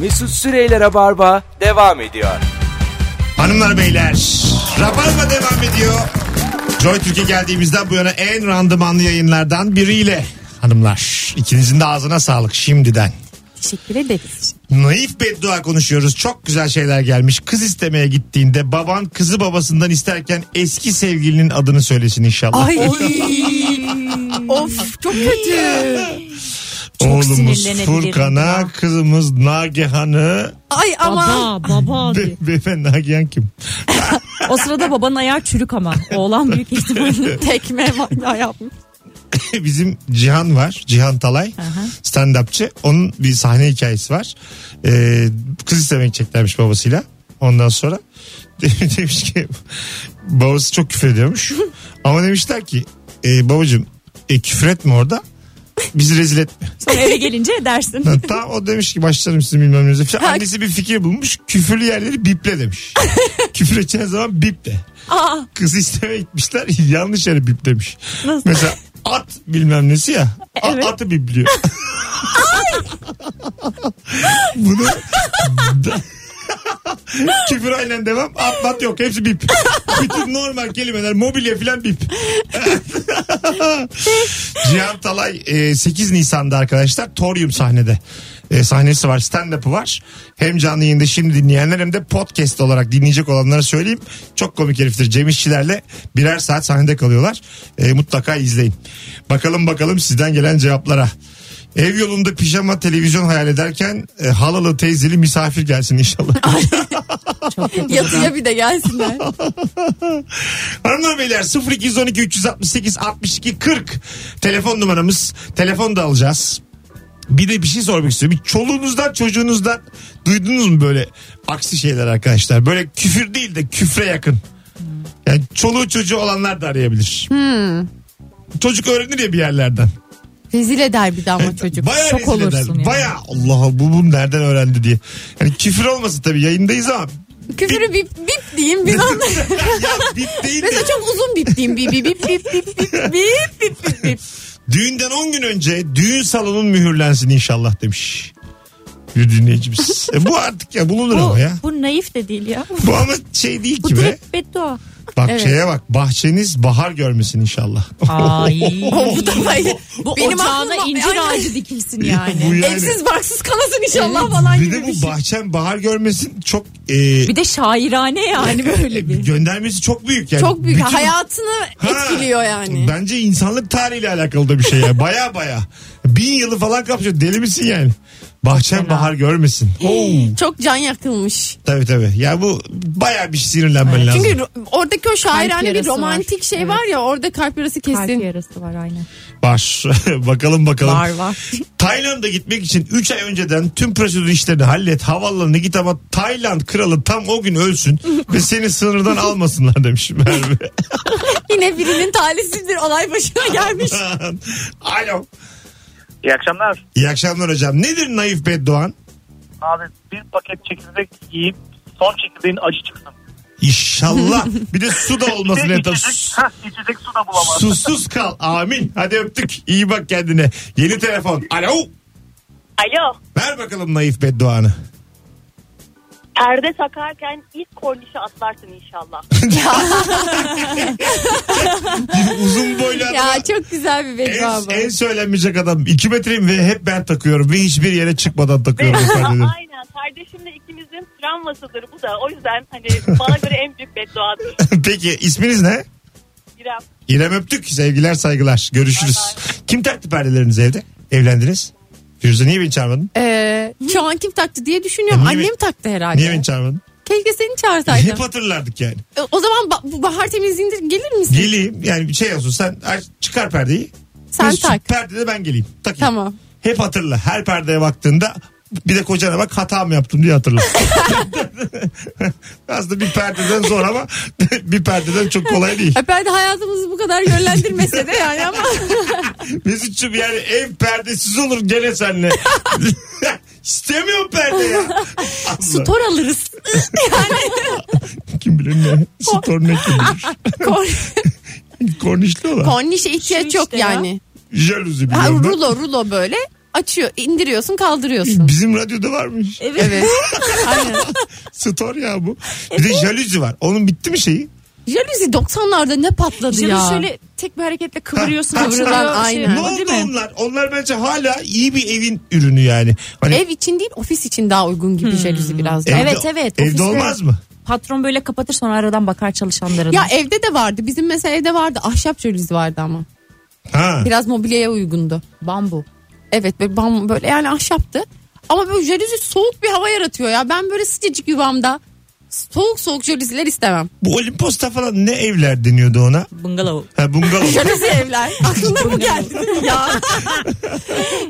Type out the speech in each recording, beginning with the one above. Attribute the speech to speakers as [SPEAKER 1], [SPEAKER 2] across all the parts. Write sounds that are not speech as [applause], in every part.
[SPEAKER 1] Mesut Süreyler'e barba devam ediyor.
[SPEAKER 2] Hanımlar beyler Rabarba devam ediyor. Joy Türkiye geldiğimizden bu yana en randımanlı yayınlardan biriyle hanımlar. ikinizin de ağzına sağlık şimdiden.
[SPEAKER 3] Teşekkür ederiz.
[SPEAKER 2] Naif beddua konuşuyoruz. Çok güzel şeyler gelmiş. Kız istemeye gittiğinde baban kızı babasından isterken eski sevgilinin adını söylesin inşallah.
[SPEAKER 4] [laughs]
[SPEAKER 3] Ay. of çok kötü. çok
[SPEAKER 2] Oğlumuz
[SPEAKER 3] sinirlenebilirim
[SPEAKER 2] Furkan'a,
[SPEAKER 3] ya.
[SPEAKER 2] kızımız Nagihan'ı.
[SPEAKER 3] Ay ama.
[SPEAKER 4] Baba baba
[SPEAKER 2] Be-
[SPEAKER 4] diyor.
[SPEAKER 2] beyefendi Nagihan kim?
[SPEAKER 4] O sırada babanın ayağı çürük ama. Oğlan büyük ihtimalle.
[SPEAKER 3] [laughs] Tekme manyağı yapmış.
[SPEAKER 2] [laughs] bizim Cihan var. Cihan Talay. Stand-upçı. Onun bir sahne hikayesi var. Ee, kız istemeye gideceklermiş babasıyla. Ondan sonra [laughs] de- demiş ki babası çok küfür ediyormuş. Ama demişler ki e, babacığım e, küfür etme orada. Bizi rezil etme. [laughs]
[SPEAKER 4] Sonra eve gelince edersin.
[SPEAKER 2] Tam o demiş ki başlarım sizin bilmem neyinize falan. Annesi bir fikir bulmuş. Küfürlü yerleri biple demiş. küfür edeceğin zaman biple.
[SPEAKER 4] Aa,
[SPEAKER 2] Kız istemeye gitmişler [laughs] yanlış yere bip demiş.
[SPEAKER 4] Nasıl?
[SPEAKER 2] Mesela at bilmem nesi ya. A-
[SPEAKER 4] Evet.
[SPEAKER 2] Atı bipliyor. [laughs] Bunu da- [laughs] Küfür aynen devam. At mat yok. Hepsi bip. Bütün normal kelimeler mobilya filan bip. Cihan Talay e, 8 Nisan'da arkadaşlar Torium sahnede. E, sahnesi var stand-up'ı var. Hem canlı yayında şimdi dinleyenler hem de podcast olarak dinleyecek olanlara söyleyeyim. Çok komik heriftir. Cem İşçilerle birer saat sahnede kalıyorlar. E, mutlaka izleyin. Bakalım bakalım sizden gelen cevaplara. Ev yolunda pijama televizyon hayal ederken e, halalı teyzeli misafir gelsin inşallah.
[SPEAKER 4] çok kötü.
[SPEAKER 3] Yatıya bir de gelsinler.
[SPEAKER 2] Hanımlar beyler 0212 368 62 40 telefon numaramız. Telefon da alacağız. Bir de bir şey sormak istiyorum. Bir çoluğunuzdan çocuğunuzdan duydunuz mu böyle aksi şeyler arkadaşlar? Böyle küfür değil de küfre yakın. Yani çoluğu çocuğu olanlar da arayabilir. Çocuk öğrenir ya bir yerlerden.
[SPEAKER 3] Rezil eder bir de ama çocuk.
[SPEAKER 2] Bayağı
[SPEAKER 4] şok
[SPEAKER 2] rezil eder.
[SPEAKER 4] olursun yani.
[SPEAKER 2] Bayağı Allah Allah bu bunu nereden öğrendi diye. Yani küfür olmasın tabii yayındayız ama. [laughs]
[SPEAKER 3] Küfürü bip bip diyeyim biz anlarız.
[SPEAKER 2] ya bip değil de.
[SPEAKER 3] Mesela çok uzun bip diyeyim. Bip bip bip bip bip bip bip bip bip bip.
[SPEAKER 2] Düğünden 10 gün önce düğün salonun mühürlensin inşallah demiş. Bir dinleyicimiz.
[SPEAKER 3] [laughs]
[SPEAKER 2] e bu artık ya bulunur
[SPEAKER 4] Bu,
[SPEAKER 2] ama ya.
[SPEAKER 4] bu naif de değil ya.
[SPEAKER 2] Bu ama şey değil
[SPEAKER 4] Bu
[SPEAKER 3] [laughs]
[SPEAKER 2] ki be.
[SPEAKER 4] direkt beddua.
[SPEAKER 2] Bak
[SPEAKER 3] Evet.
[SPEAKER 2] şeye bak bahçeniz bahar görmesin inşallah.
[SPEAKER 4] Ay.
[SPEAKER 3] Bu da bayağı.
[SPEAKER 4] Bu
[SPEAKER 3] Benim
[SPEAKER 4] ocağına
[SPEAKER 3] aklıma-
[SPEAKER 4] incir
[SPEAKER 3] Aynen.
[SPEAKER 4] ağacı dikilsin yani.
[SPEAKER 2] [laughs] Bu yani-
[SPEAKER 3] Evsiz barksız kalasın inşallah falan
[SPEAKER 2] bir
[SPEAKER 3] gibi
[SPEAKER 2] de
[SPEAKER 3] bir
[SPEAKER 2] bu
[SPEAKER 3] şey.
[SPEAKER 2] bahçen bahar görmesin çok e,
[SPEAKER 4] Bir de şairane yani
[SPEAKER 2] [laughs]
[SPEAKER 4] böyle bir.
[SPEAKER 2] göndermesi çok büyük yani.
[SPEAKER 3] Çok büyük.
[SPEAKER 2] Bütün-
[SPEAKER 3] Hayatını
[SPEAKER 2] Ha,
[SPEAKER 3] etkiliyor yani.
[SPEAKER 2] Bence insanlık tarihiyle alakalı da bir şey
[SPEAKER 3] [laughs]
[SPEAKER 2] ya. Baya baya. Bin yılı falan kapsıyor. Deli misin yani? Bahçen bahar görmesin. Oo.
[SPEAKER 3] Çok can yakılmış.
[SPEAKER 2] Tabii tabii. Ya bu baya bir sinirlenmen lazım.
[SPEAKER 3] Çünkü ro- oradaki o şairane bir
[SPEAKER 4] yarası var.
[SPEAKER 3] romantik şey
[SPEAKER 4] Evet.
[SPEAKER 3] var ya orada kalp yarası kesin.
[SPEAKER 4] Kalp yarası var aynen.
[SPEAKER 2] Var. [laughs] bakalım bakalım.
[SPEAKER 4] Var var.
[SPEAKER 2] [laughs] Tayland'a gitmek için 3 ay önceden tüm prosedür işlerini hallet. Havaalanına git ama Tayland kralı tam o gün ölsün
[SPEAKER 4] [laughs]
[SPEAKER 2] ve seni sınırdan almasınlar demiş Merve.
[SPEAKER 3] Yine birinin talihsiz bir olay başına gelmiş.
[SPEAKER 2] Alo.
[SPEAKER 5] İyi akşamlar.
[SPEAKER 2] İyi akşamlar hocam. Nedir naif bedduan?
[SPEAKER 5] Abi bir paket çekirdek yiyip son çekirdeğin acı çıksın.
[SPEAKER 2] İnşallah. Bir de su da olmasın
[SPEAKER 4] [laughs]
[SPEAKER 5] Bir de
[SPEAKER 2] yeter.
[SPEAKER 5] içecek, hah, içecek su da bulamaz.
[SPEAKER 2] Susuz kal. Amin. Hadi öptük. İyi bak kendine. Yeni telefon. Alo.
[SPEAKER 6] Alo.
[SPEAKER 2] Ver bakalım naif
[SPEAKER 4] [laughs]
[SPEAKER 2] bedduanı.
[SPEAKER 6] Perde takarken ilk kornişi atlarsın inşallah.
[SPEAKER 2] Uzun boylu adama.
[SPEAKER 3] ya çok güzel bir beddua
[SPEAKER 2] En,
[SPEAKER 3] bu.
[SPEAKER 2] en söylenmeyecek adam. 2 metreyim ve hep ben takıyorum. Ve hiçbir yere çıkmadan
[SPEAKER 3] [laughs]
[SPEAKER 2] takıyorum. efendim.
[SPEAKER 6] Aynen. Kardeşimle ikimizin travmasıdır bu da. O yüzden hani bana göre en büyük bedduadır.
[SPEAKER 2] [laughs] Peki isminiz ne?
[SPEAKER 6] İrem.
[SPEAKER 2] İrem öptük. Sevgiler saygılar. Görüşürüz. Kim taktı perdelerinizi evde? Evlendiniz. Firuze niye beni çağırmadın?
[SPEAKER 3] Ee, şu an kim taktı diye
[SPEAKER 2] E,
[SPEAKER 3] düşünüyorum.
[SPEAKER 2] niye
[SPEAKER 3] Annem
[SPEAKER 2] mi-
[SPEAKER 3] taktı herhalde.
[SPEAKER 2] Niye beni çağırmadın?
[SPEAKER 3] Keşke seni çağırsaydım.
[SPEAKER 2] Hep hatırlardık yani.
[SPEAKER 3] Ee, o zaman ba- bu bahar temizliğinde gelir misin?
[SPEAKER 2] Geleyim yani bir şey olsun sen aç, çıkar perdeyi.
[SPEAKER 3] Sen
[SPEAKER 2] Mesut,
[SPEAKER 3] tak.
[SPEAKER 2] Perdede ben geleyim. Takayım.
[SPEAKER 3] Tamam.
[SPEAKER 2] Hep hatırla. Her perdeye baktığında bir de kocana bak hata mı yaptım diye
[SPEAKER 3] [laughs]
[SPEAKER 2] hatırla. [laughs] Aslında bir perdeden zor ama [laughs] bir perdeden çok kolay değil.
[SPEAKER 3] E, perde hayatımızı bu kadar
[SPEAKER 2] [laughs]
[SPEAKER 3] yönlendirmese de yani ama
[SPEAKER 2] Mesut'cum yani ev perdesiz olur gene [laughs] senle. İstemiyorum perde ya. Allah.
[SPEAKER 3] stor alırız.
[SPEAKER 2] Kim bilir ne? Stor ne kim bilir?
[SPEAKER 4] [laughs]
[SPEAKER 3] Kor-
[SPEAKER 2] Kornişli olan.
[SPEAKER 3] Kornişe ihtiyaç
[SPEAKER 4] Şu
[SPEAKER 3] yok
[SPEAKER 4] işte ya.
[SPEAKER 3] yani.
[SPEAKER 2] Jaluzi
[SPEAKER 3] Ha,
[SPEAKER 2] biliyorum. ben.
[SPEAKER 3] rulo rulo böyle. açıyor, indiriyorsun, kaldırıyorsun.
[SPEAKER 2] Bizim radyoda varmış.
[SPEAKER 4] Evet.
[SPEAKER 3] Aynen.
[SPEAKER 2] Story ya bu. Bir de jaluzi var. Onun bitti mi şeyi?
[SPEAKER 3] Jaluzi 90'larda ne patladı
[SPEAKER 4] Şimdi
[SPEAKER 3] ya?
[SPEAKER 4] şöyle tek bir hareketle kıvırıyorsun.
[SPEAKER 2] Ha,
[SPEAKER 4] kıvırıyor,
[SPEAKER 3] kıvırılan,
[SPEAKER 4] şey
[SPEAKER 3] aynen.
[SPEAKER 4] yapıyor,
[SPEAKER 2] ne
[SPEAKER 4] değil
[SPEAKER 2] oldu
[SPEAKER 4] mi?
[SPEAKER 2] onlar? Onlar bence hala iyi bir evin ürünü yani. Hani
[SPEAKER 3] Ev için değil ofis için daha uygun gibi jaluzi biraz daha.
[SPEAKER 2] evde-
[SPEAKER 4] Evet, evet,
[SPEAKER 2] Evde
[SPEAKER 4] ofiste.
[SPEAKER 2] olmaz mı?
[SPEAKER 4] Patron böyle kapatır sonra aradan bakar çalışanlarına.
[SPEAKER 3] Ya evde de vardı. Bizim mesela evde vardı. Ahşap jaluzi vardı ama.
[SPEAKER 2] Ha.
[SPEAKER 3] Biraz mobilyaya uygundu. Bambu. Evet böyle bambu böyle yani ahşaptı. Ama böyle jaluzi soğuk bir hava yaratıyor ya. Ben böyle sıcacık yuvamda soğuk soğuk jaluziler istemem.
[SPEAKER 2] Bu Olimpos'ta falan ne evler deniyordu ona?
[SPEAKER 4] Bungalov.
[SPEAKER 2] Ha
[SPEAKER 4] [laughs]
[SPEAKER 2] bungalov.
[SPEAKER 3] Jaluzi evler. Aklına bu geldi değil mi ya? [laughs]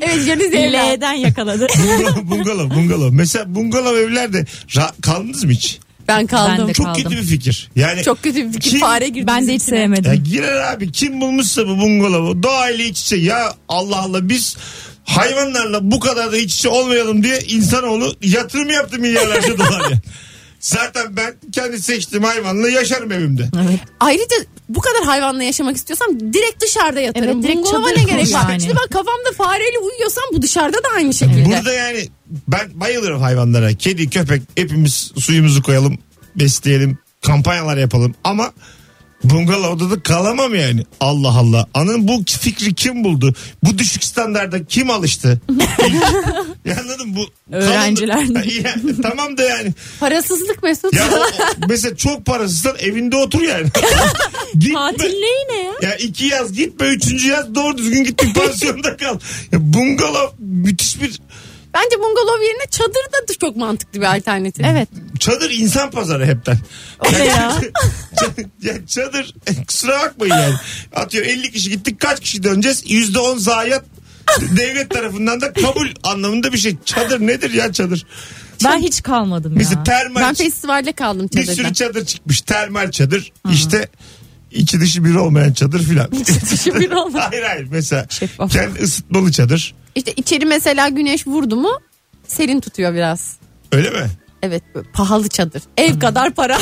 [SPEAKER 3] evet jaluzi evler.
[SPEAKER 4] L'den yakaladı.
[SPEAKER 2] bungalov,
[SPEAKER 3] [laughs]
[SPEAKER 2] bungalov, bungalov. Mesela bungalov evlerde ra- kaldınız mı hiç?
[SPEAKER 3] Ben kaldım.
[SPEAKER 4] Ben de
[SPEAKER 2] Çok
[SPEAKER 4] Kaldım.
[SPEAKER 2] kötü bir fikir. Yani
[SPEAKER 3] Çok kötü bir fikir.
[SPEAKER 2] Kim-
[SPEAKER 3] Fare girdi.
[SPEAKER 4] ben de hiç
[SPEAKER 3] bizimkine.
[SPEAKER 2] Ya
[SPEAKER 4] sevmedim.
[SPEAKER 2] girer abi kim bulmuşsa bu bungalovu doğayla iç içe ya Allah Allah biz hayvanlarla bu kadar da iç içe olmayalım diye insanoğlu yatırım yaptı milyarlarca [laughs] dolar ya. Zaten ben kendi seçtim hayvanla yaşarım evimde.
[SPEAKER 3] Ayrıca bu kadar hayvanla yaşamak istiyorsam direkt dışarıda yatarım.
[SPEAKER 4] Evet, direkt
[SPEAKER 3] Bungalova
[SPEAKER 4] çadır
[SPEAKER 3] ne gerek var?
[SPEAKER 4] yani.
[SPEAKER 3] Şimdi ben kafamda fareyle uyuyorsam bu dışarıda da aynı şekilde.
[SPEAKER 2] Burada yani ben bayılırım hayvanlara. Kedi, köpek hepimiz suyumuzu koyalım, besleyelim, kampanyalar yapalım ama bungalovda da kalamam yani. Allah Allah. Anın bu fikri kim buldu? Bu düşük standarda kim
[SPEAKER 4] [laughs]
[SPEAKER 2] alıştı? ya anladın mı? bu
[SPEAKER 4] Öğrenciler.
[SPEAKER 2] Ya, tamam da yani.
[SPEAKER 3] Parasızlık Mesut.
[SPEAKER 2] Ya o- o- mesela çok parasızsan evinde otur
[SPEAKER 4] [laughs]
[SPEAKER 2] yani. Gitme.
[SPEAKER 4] Tatil ne yine ya?
[SPEAKER 2] Ya iki yaz gitme üçüncü yaz doğru düzgün git bir pansiyonda kal. Ya bungalov müthiş bir
[SPEAKER 3] Bence bungalov yerine çadır da çok mantıklı bir alternatif. Evet.
[SPEAKER 2] Çadır insan pazarı hepten.
[SPEAKER 4] O ne ya?
[SPEAKER 2] Ç- [laughs] ya çadır [laughs] kusura bakmayın yani. Atıyor 50 kişi gittik kaç kişi döneceğiz? %10 zayiat devlet tarafından da kabul anlamında bir şey. Çadır nedir ya çadır?
[SPEAKER 4] Ben hiç kalmadım ya.
[SPEAKER 2] Mesela termal
[SPEAKER 3] Ben festivalde kaldım
[SPEAKER 2] bir
[SPEAKER 3] çadırda.
[SPEAKER 2] sürü çadır çıkmış. Termal çadır işte içi dışı bir olmayan çadır
[SPEAKER 4] [laughs]
[SPEAKER 2] filan.
[SPEAKER 4] Dışı bir olmadı.
[SPEAKER 2] [laughs] hayır hayır mesela
[SPEAKER 4] Şeffaf.
[SPEAKER 2] kendi ısıtmalı çadır.
[SPEAKER 3] İşte içeri mesela güneş vurdu mu serin tutuyor biraz.
[SPEAKER 2] Öyle mi?
[SPEAKER 3] Evet böyle pahalı çadır. Ev kadar para.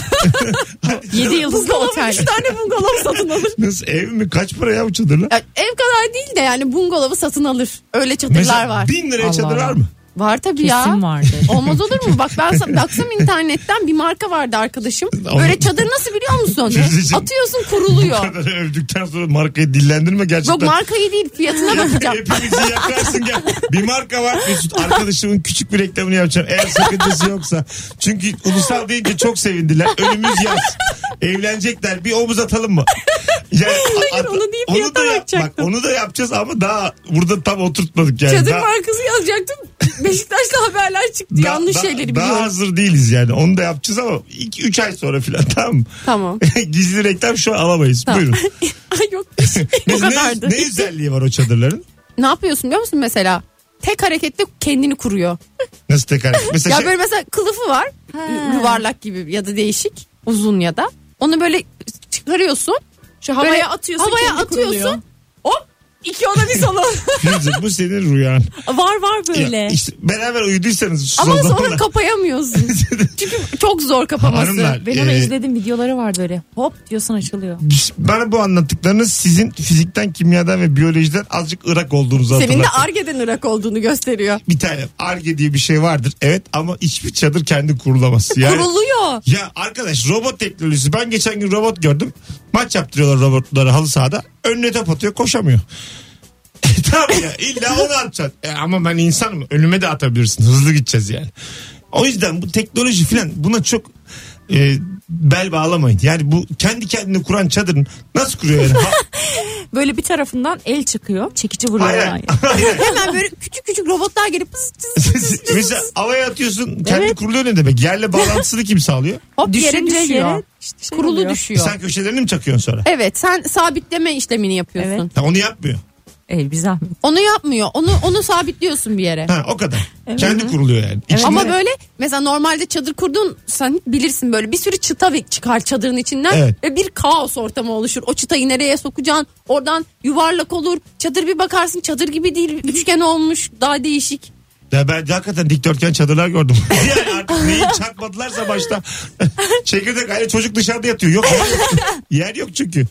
[SPEAKER 4] 7 yıldızlı
[SPEAKER 3] bungalov
[SPEAKER 4] otel.
[SPEAKER 3] 3
[SPEAKER 4] [laughs]
[SPEAKER 3] tane bungalov satın alır.
[SPEAKER 2] Nasıl ev mi? Kaç para [laughs] ya bu çadırlar?
[SPEAKER 3] Ya ev kadar değil de yani bungalovu satın alır. Öyle çadırlar
[SPEAKER 2] Mesela
[SPEAKER 3] var.
[SPEAKER 2] bin liraya
[SPEAKER 4] Allah
[SPEAKER 2] çadır var
[SPEAKER 4] Allah.
[SPEAKER 2] mı?
[SPEAKER 3] Var tabii ya.
[SPEAKER 4] Kesin vardı.
[SPEAKER 3] Olmaz olur mu? Bak ben sa- baksam internetten bir marka vardı arkadaşım. Böyle çadır nasıl biliyor musun?
[SPEAKER 2] Firuzeciğim,
[SPEAKER 3] Atıyorsun kuruluyor.
[SPEAKER 2] kadar övdükten sonra markayı dillendirme
[SPEAKER 3] Yok
[SPEAKER 2] gerçekten.
[SPEAKER 3] markayı değil fiyatına
[SPEAKER 2] [laughs]
[SPEAKER 3] bakacağım.
[SPEAKER 2] Hepimizi yakarsın gel. Bir marka var Mesut. Arkadaşımın küçük bir reklamını yapacağım. Eğer sakıncası yoksa. Çünkü ulusal deyince çok sevindiler. Önümüz yaz. Evlenecekler. Bir omuz atalım mı? Yani, Hayır
[SPEAKER 3] onu değil, fiyata bakacaktım.
[SPEAKER 2] onu da yapacağız ama daha burada tam oturtmadık yani.
[SPEAKER 3] Çadır
[SPEAKER 2] Daha-
[SPEAKER 3] markası yazacaktım. Beşiktaş'ta haberler çıktı.
[SPEAKER 2] daha-
[SPEAKER 3] Yanlış
[SPEAKER 2] daha-
[SPEAKER 3] şeyleri
[SPEAKER 2] daha
[SPEAKER 3] biliyorum.
[SPEAKER 2] hazır değiliz yani. Onu da yapacağız ama 2-3 ay sonra filan tamam mı? [laughs]
[SPEAKER 3] Tamam.
[SPEAKER 2] Gizli reklam şu an alamayız.
[SPEAKER 3] Tamam.
[SPEAKER 2] Buyurun.
[SPEAKER 3] Ay yok.
[SPEAKER 2] Ne,
[SPEAKER 3] [laughs] Bu
[SPEAKER 2] ne,
[SPEAKER 3] kadardı.
[SPEAKER 2] ne özelliği var o çadırların?
[SPEAKER 3] Ne yapıyorsun biliyor musun mesela? Tek hareketle kendini kuruyor.
[SPEAKER 2] Nasıl tekrar? Mesela
[SPEAKER 3] Ya
[SPEAKER 2] şey-
[SPEAKER 3] böyle mesela kılıfı var. Yuvarlak gibi ya da değişik. Uzun ya da. Onu böyle çıkarıyorsun.
[SPEAKER 4] Şu havaya
[SPEAKER 3] Böyle
[SPEAKER 4] atıyorsun.
[SPEAKER 3] havaya
[SPEAKER 4] kendi
[SPEAKER 3] atıyorsun.
[SPEAKER 4] kuruluyor.
[SPEAKER 3] Hop iki oda bir
[SPEAKER 2] [laughs]
[SPEAKER 3] salon.
[SPEAKER 2] Firuze, bu senin
[SPEAKER 3] [laughs]
[SPEAKER 2] rüyan.
[SPEAKER 4] Var var böyle.
[SPEAKER 2] Ya işte beraber uyuduysanız şu
[SPEAKER 3] Ama
[SPEAKER 2] zamanlar- [laughs]
[SPEAKER 3] sonra kapayamıyorsun. Çünkü çok zor kapaması.
[SPEAKER 2] Hanımlar
[SPEAKER 4] ben onu
[SPEAKER 2] e,
[SPEAKER 4] izledim videoları var böyle. Hop diyorsun açılıyor.
[SPEAKER 2] bana bu anlattıklarınız sizin fizikten, kimyadan ve biyolojiden azıcık ırak olduğunuzu
[SPEAKER 3] Senin de
[SPEAKER 2] hatırlattı.
[SPEAKER 3] Arge'den Irak olduğunu gösteriyor.
[SPEAKER 2] bir tane arge diye bir şey vardır. Evet ama hiçbir çadır kendi
[SPEAKER 3] [laughs]
[SPEAKER 2] kurulamaz. Yani,
[SPEAKER 3] Kuruluyor.
[SPEAKER 2] Ya arkadaş robot teknolojisi. Ben geçen gün robot gördüm. Maç yaptırıyorlar robotlara halı sahada. Önüne top atıyor koşamıyor. [laughs] tamam ya illa onu atacaksın. E, ama ben insanım. Önüme de atabilirsin. Hızlı gideceğiz yani. O yüzden bu teknoloji filan buna çok e, bel bağlamayın. Yani bu kendi kendini kuran çadırın nasıl kuruyor yani? Ha-
[SPEAKER 4] Böyle bir tarafından el çıkıyor. Çekici vuruyor.
[SPEAKER 2] Hayır. [laughs]
[SPEAKER 4] yani.
[SPEAKER 2] hayır.
[SPEAKER 3] Hemen böyle küçük küçük robotlar gelip pıs pıs pıs pıs pıs.
[SPEAKER 2] Mesela havaya atıyorsun kendi
[SPEAKER 4] Evet.
[SPEAKER 2] kuruluyor ne demek? Yerle bağlantısını kim sağlıyor?
[SPEAKER 3] Hop yere
[SPEAKER 4] Düşünce
[SPEAKER 3] düşüyor.
[SPEAKER 4] yere işte şey
[SPEAKER 3] Kurulu
[SPEAKER 4] oluyor.
[SPEAKER 2] E,
[SPEAKER 3] düşüyor.
[SPEAKER 2] sen köşelerini mi çakıyorsun sonra?
[SPEAKER 3] Evet sen sabitleme işlemini yapıyorsun.
[SPEAKER 4] Evet.
[SPEAKER 2] Ha, onu yapmıyor.
[SPEAKER 4] Ey bir zahmet.
[SPEAKER 3] Onu yapmıyor. Onu onu sabitliyorsun bir yere.
[SPEAKER 2] Ha, o kadar. Kendi kuruluyor yani. İçinde-
[SPEAKER 3] Ama böyle mesela normalde çadır kurdun sen bilirsin böyle bir sürü çıta ve- çıkar çadırın içinden
[SPEAKER 2] Evet.
[SPEAKER 3] ve bir kaos ortamı oluşur. O çıtayı nereye sokacaksın? Oradan yuvarlak olur. Çadır bir bakarsın çadır gibi değil üçgen olmuş daha değişik.
[SPEAKER 2] Ya ben de hakikaten dikdörtgen çadırlar gördüm. [laughs] yani artık neyi çakmadılarsa başta. Çekirdek aile çocuk dışarıda yatıyor. Yok yer yok. Yer yok çünkü.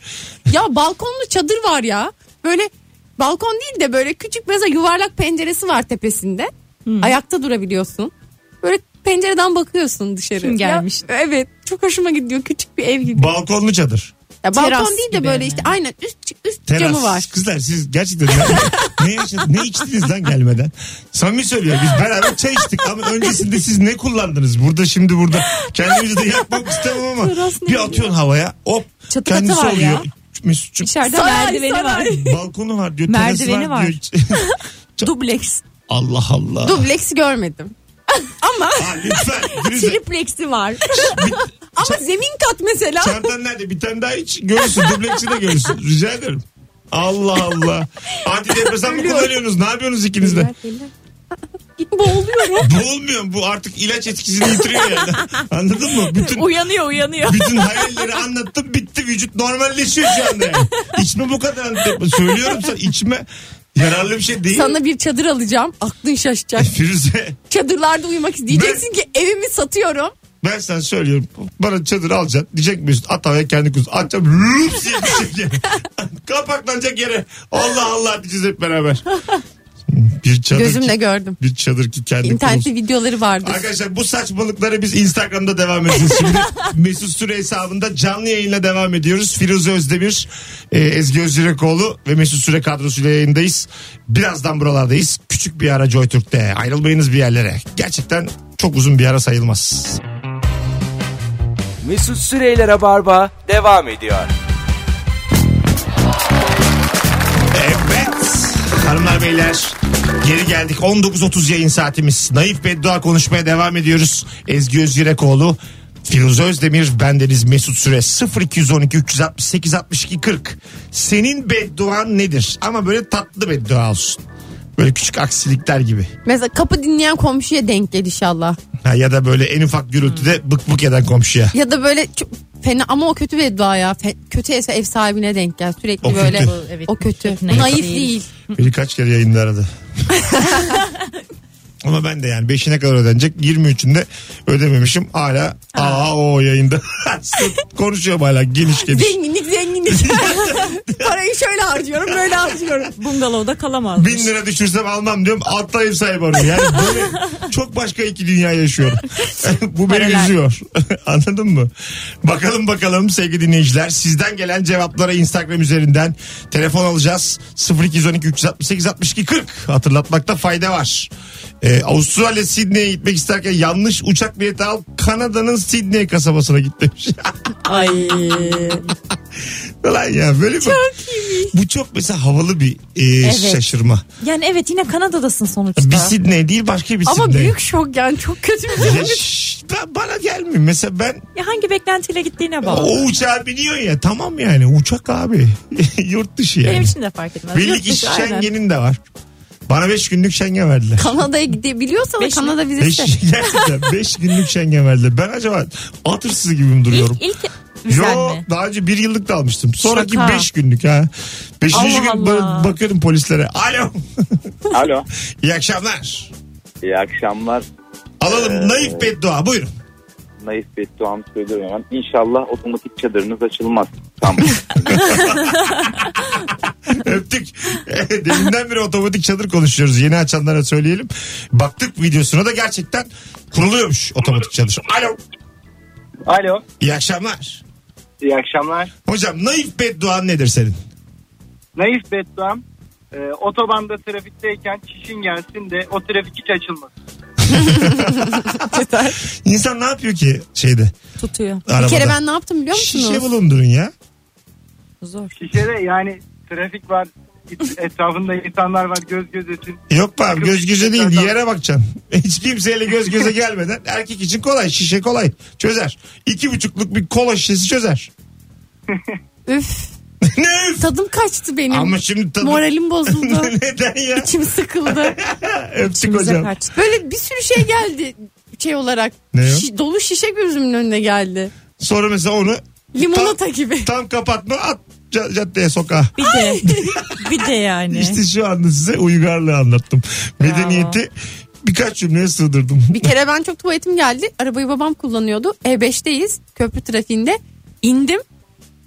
[SPEAKER 3] Ya balkonlu çadır var ya böyle Balkon değil de böyle küçük meza yuvarlak penceresi var tepesinde.
[SPEAKER 4] Hmm.
[SPEAKER 3] Ayakta durabiliyorsun. Böyle pencereden bakıyorsun dışarı.
[SPEAKER 4] Kim gelmiş?
[SPEAKER 3] Ya, evet. Çok hoşuma gidiyor. Küçük bir ev gibi.
[SPEAKER 2] Balkonlu çadır.
[SPEAKER 3] Ya, balkon
[SPEAKER 4] Teras
[SPEAKER 3] değil de
[SPEAKER 4] gibi
[SPEAKER 3] böyle
[SPEAKER 4] yani.
[SPEAKER 3] işte aynen üst, üst
[SPEAKER 2] Teras.
[SPEAKER 3] camı var.
[SPEAKER 2] Kızlar siz gerçekten ne, ne, yaşadınız, ne içtiniz lan gelmeden? Samimi söylüyorum biz beraber çay içtik ama öncesinde siz ne kullandınız? Burada şimdi burada kendimizi de yakmak istemem ama
[SPEAKER 3] Teras ne
[SPEAKER 2] bir atıyorsun havaya hop
[SPEAKER 4] Çatı katı
[SPEAKER 2] kendisi
[SPEAKER 4] var ya.
[SPEAKER 2] oluyor. Mesut'cum
[SPEAKER 4] İçeride
[SPEAKER 3] Saray,
[SPEAKER 4] merdiveni var.
[SPEAKER 3] saray.
[SPEAKER 2] balkonu var diyor.
[SPEAKER 4] Merdiveni
[SPEAKER 2] terası var. Diyor.
[SPEAKER 4] [laughs] Dubleks.
[SPEAKER 2] [laughs] Allah Allah.
[SPEAKER 3] Dubleksi görmedim.
[SPEAKER 4] [laughs]
[SPEAKER 3] Ama
[SPEAKER 2] Ha, lütfen. Girize.
[SPEAKER 4] Tripleksi var.
[SPEAKER 3] ama zemin kat mesela.
[SPEAKER 2] Çantan nerede? Bir tane daha iç. Görürsün. Dublekçi de görürsün. Rica ederim. Allah Allah. Antidepresan mı kullanıyorsunuz? Ne yapıyorsunuz ikiniz de?
[SPEAKER 3] Boğuluyorum.
[SPEAKER 2] Boğulmuyor bu artık ilaç etkisini yitiriyor yani. Anladın mı? Bütün [laughs]
[SPEAKER 4] uyanıyor uyanıyor.
[SPEAKER 2] bütün hayalleri anlattım bitti. Vücut normalleşiyor şu anda yani. İçme bu kadar antidepresan. Söylüyorum sana içme. Yararlı bir şey değil.
[SPEAKER 3] Sana bir çadır alacağım.
[SPEAKER 2] [laughs]
[SPEAKER 3] Aklın şaşacak.
[SPEAKER 2] Firuze
[SPEAKER 3] Çadırlarda uyumak ist- diyeceksin ki evimi satıyorum.
[SPEAKER 2] ben sana söylüyorum. Bana çadır alacaksın. Diyecek misin? At havaya kendi kuzu. Atacağım. Lüps diye düşecek yere. [laughs] Kapaklanacak yere. Allah Allah diyeceğiz hep beraber. Bir çadır
[SPEAKER 3] Gözümle
[SPEAKER 2] ki,
[SPEAKER 3] gördüm.
[SPEAKER 2] bir çadır ki kendi
[SPEAKER 3] İnternette
[SPEAKER 2] kuzu.
[SPEAKER 3] videoları vardı.
[SPEAKER 2] Arkadaşlar bu saçmalıkları biz Instagram'da devam edeceğiz şimdi. Mesut Süre hesabında canlı yayınla devam ediyoruz. Firuze Özdemir, e, Ezgi Özürekoğlu ve Mesut Süre kadrosuyla yayındayız. Birazdan buralardayız. Küçük bir ara Joy Türk'te. Ayrılmayınız bir yerlere. Gerçekten çok uzun bir ara sayılmaz.
[SPEAKER 1] Mesut Süreyler'e barba devam ediyor.
[SPEAKER 2] Evet. Hanımlar beyler geri geldik. 19.30 yayın saatimiz. Naif Beddua konuşmaya devam ediyoruz. Ezgi Özgürekoğlu, Firuze Özdemir, bendeniz Mesut Süre 0212 368 62 40. Senin bedduan nedir? Ama böyle tatlı beddua olsun. Böyle küçük aksilikler gibi.
[SPEAKER 3] Mesela kapı dinleyen komşuya denk gel inşallah.
[SPEAKER 2] Ha, ya da böyle en ufak gürültüde bık bık eden komşuya.
[SPEAKER 3] Ya da böyle çok fena ama o kötü beddua ya. Fe- kötü ev, ev sahibine denk gel. Sürekli
[SPEAKER 2] O
[SPEAKER 3] böyle.
[SPEAKER 2] kötü.
[SPEAKER 4] Evet,
[SPEAKER 3] O kötü.
[SPEAKER 4] naif
[SPEAKER 3] Naif
[SPEAKER 4] değil.
[SPEAKER 3] değil.
[SPEAKER 2] Beni kaç kere yayında aradı. Ama ben de yani 5'ine kadar ödenecek 23'ünde ödememişim hala aa o yayında [laughs] Sırf konuşuyorum hala geniş geniş. [laughs]
[SPEAKER 3] Zenginlik zenginlik. Parayı şöyle harcıyorum böyle harcıyorum.
[SPEAKER 4] Bungalovda kalamazmış.
[SPEAKER 2] Bin lira düşürsem almam diyorum altta ev sahibi arıyor. Yani
[SPEAKER 3] [laughs]
[SPEAKER 2] böyle çok başka iki dünya yaşıyorum. [laughs] Bu beni
[SPEAKER 4] Paralel.
[SPEAKER 2] üzüyor. [laughs] Anladın mı? Bakalım bakalım sevgili dinleyiciler sizden gelen cevaplara Instagram üzerinden telefon alacağız. 0212 368 62 40 hatırlatmakta fayda var. Ee, Avustralya Sydney'e gitmek isterken yanlış uçak bileti al Kanada'nın Sydney kasabasına git demiş. [laughs]
[SPEAKER 4] Ay.
[SPEAKER 2] Lan ya böyle çok Bu çok mesela havalı bir e, şaşırma.
[SPEAKER 4] Yani evet yine Kanada'dasın sonuçta.
[SPEAKER 2] Bir Sydney değil başka bir Sydney.
[SPEAKER 3] Ama büyük şok yani
[SPEAKER 2] [laughs]
[SPEAKER 3] çok kötü bir
[SPEAKER 2] Ya şş, ben- bana gelmiyor. Mesela ben
[SPEAKER 4] Ya hangi beklentiyle gittiğine bağlı.
[SPEAKER 2] o uçağa biniyorsun ya tamam yani uçak abi. [laughs] Yurt dışı yani.
[SPEAKER 4] Benim için de fark etmez. Yurt
[SPEAKER 2] Birlik
[SPEAKER 4] dışı,
[SPEAKER 2] iş
[SPEAKER 4] aynen.
[SPEAKER 2] Schengen'in de var. Bana 5 günlük Schengen verdiler.
[SPEAKER 3] Kanada'ya gidebiliyorsan
[SPEAKER 4] Beş mi?
[SPEAKER 3] Kanada
[SPEAKER 2] Beş, [laughs]
[SPEAKER 3] vizesi.
[SPEAKER 2] gerçekten 5 günlük Schengen verdiler. Ben acaba atırsız gibi mi duruyorum?
[SPEAKER 4] İlk, ilk vizen
[SPEAKER 2] Yo
[SPEAKER 4] mi?
[SPEAKER 2] daha önce bir yıllık da almıştım. Sonraki
[SPEAKER 4] Şaka.
[SPEAKER 2] 5 günlük ha. Beşinci
[SPEAKER 4] Allah
[SPEAKER 2] gün
[SPEAKER 4] Allah.
[SPEAKER 2] ba- bakıyorum polislere. Alo.
[SPEAKER 7] Alo.
[SPEAKER 2] İyi akşamlar.
[SPEAKER 7] İyi akşamlar.
[SPEAKER 2] Alalım naif beddua buyurun.
[SPEAKER 7] Naif bedduamı söylüyorum hemen. İnşallah otomatik çadırınız açılmaz. Tamam.
[SPEAKER 2] Öptük. [laughs] Deminden beri otomatik çadır konuşuyoruz. Yeni açanlara söyleyelim. Baktık videosuna da gerçekten kuruluyormuş otomatik çadır. Alo.
[SPEAKER 7] Alo.
[SPEAKER 2] İyi akşamlar.
[SPEAKER 7] İyi akşamlar.
[SPEAKER 2] Hocam naif bedduan nedir senin?
[SPEAKER 7] Naif bedduam e, otobanda trafikteyken çişin gelsin de o trafik hiç açılmasın.
[SPEAKER 2] İnsan ne yapıyor ki şeyde
[SPEAKER 4] Tutuyor.
[SPEAKER 2] arabada?
[SPEAKER 3] Bir kere ben ne yaptım biliyor
[SPEAKER 2] Şişe
[SPEAKER 3] musunuz?
[SPEAKER 2] bulundurun ya.
[SPEAKER 4] Zor.
[SPEAKER 7] Şişede yani trafik var.
[SPEAKER 5] [laughs]
[SPEAKER 7] Etrafında insanlar var göz gözetin.
[SPEAKER 2] Yok be abi göz göze değil
[SPEAKER 7] Zaten-
[SPEAKER 2] yere bakacaksın. [laughs] Hiç kimseyle göz göze gelmeden erkek için kolay şişe kolay çözer. İki buçukluk bir kola şişesi çözer.
[SPEAKER 3] Üf
[SPEAKER 2] [laughs] ne üf!
[SPEAKER 3] tadım kaçtı benim.
[SPEAKER 2] Ama şimdi tadı...
[SPEAKER 3] Moralim bozuldu.
[SPEAKER 2] [laughs] Neden ya?
[SPEAKER 3] İçim sıkıldı.
[SPEAKER 2] Öptük
[SPEAKER 4] Bize
[SPEAKER 2] hocam.
[SPEAKER 4] kaçtı.
[SPEAKER 3] Böyle bir sürü şey geldi şey olarak.
[SPEAKER 2] Ne ya?
[SPEAKER 3] Şi- dolu şişe gözümün önüne geldi.
[SPEAKER 2] Sonra mesela onu
[SPEAKER 3] Limonata gibi.
[SPEAKER 2] Tam kapatma at ca- caddeye sokağa.
[SPEAKER 4] Bir de. [laughs] bir de yani.
[SPEAKER 2] İşte şu anda size uygarlığı anlattım. Medeniyeti birkaç cümleye sığdırdım.
[SPEAKER 3] Bir kere ben çok tuvaletim geldi. Arabayı babam kullanıyordu. E5'teyiz E, köprü trafiğinde. İndim.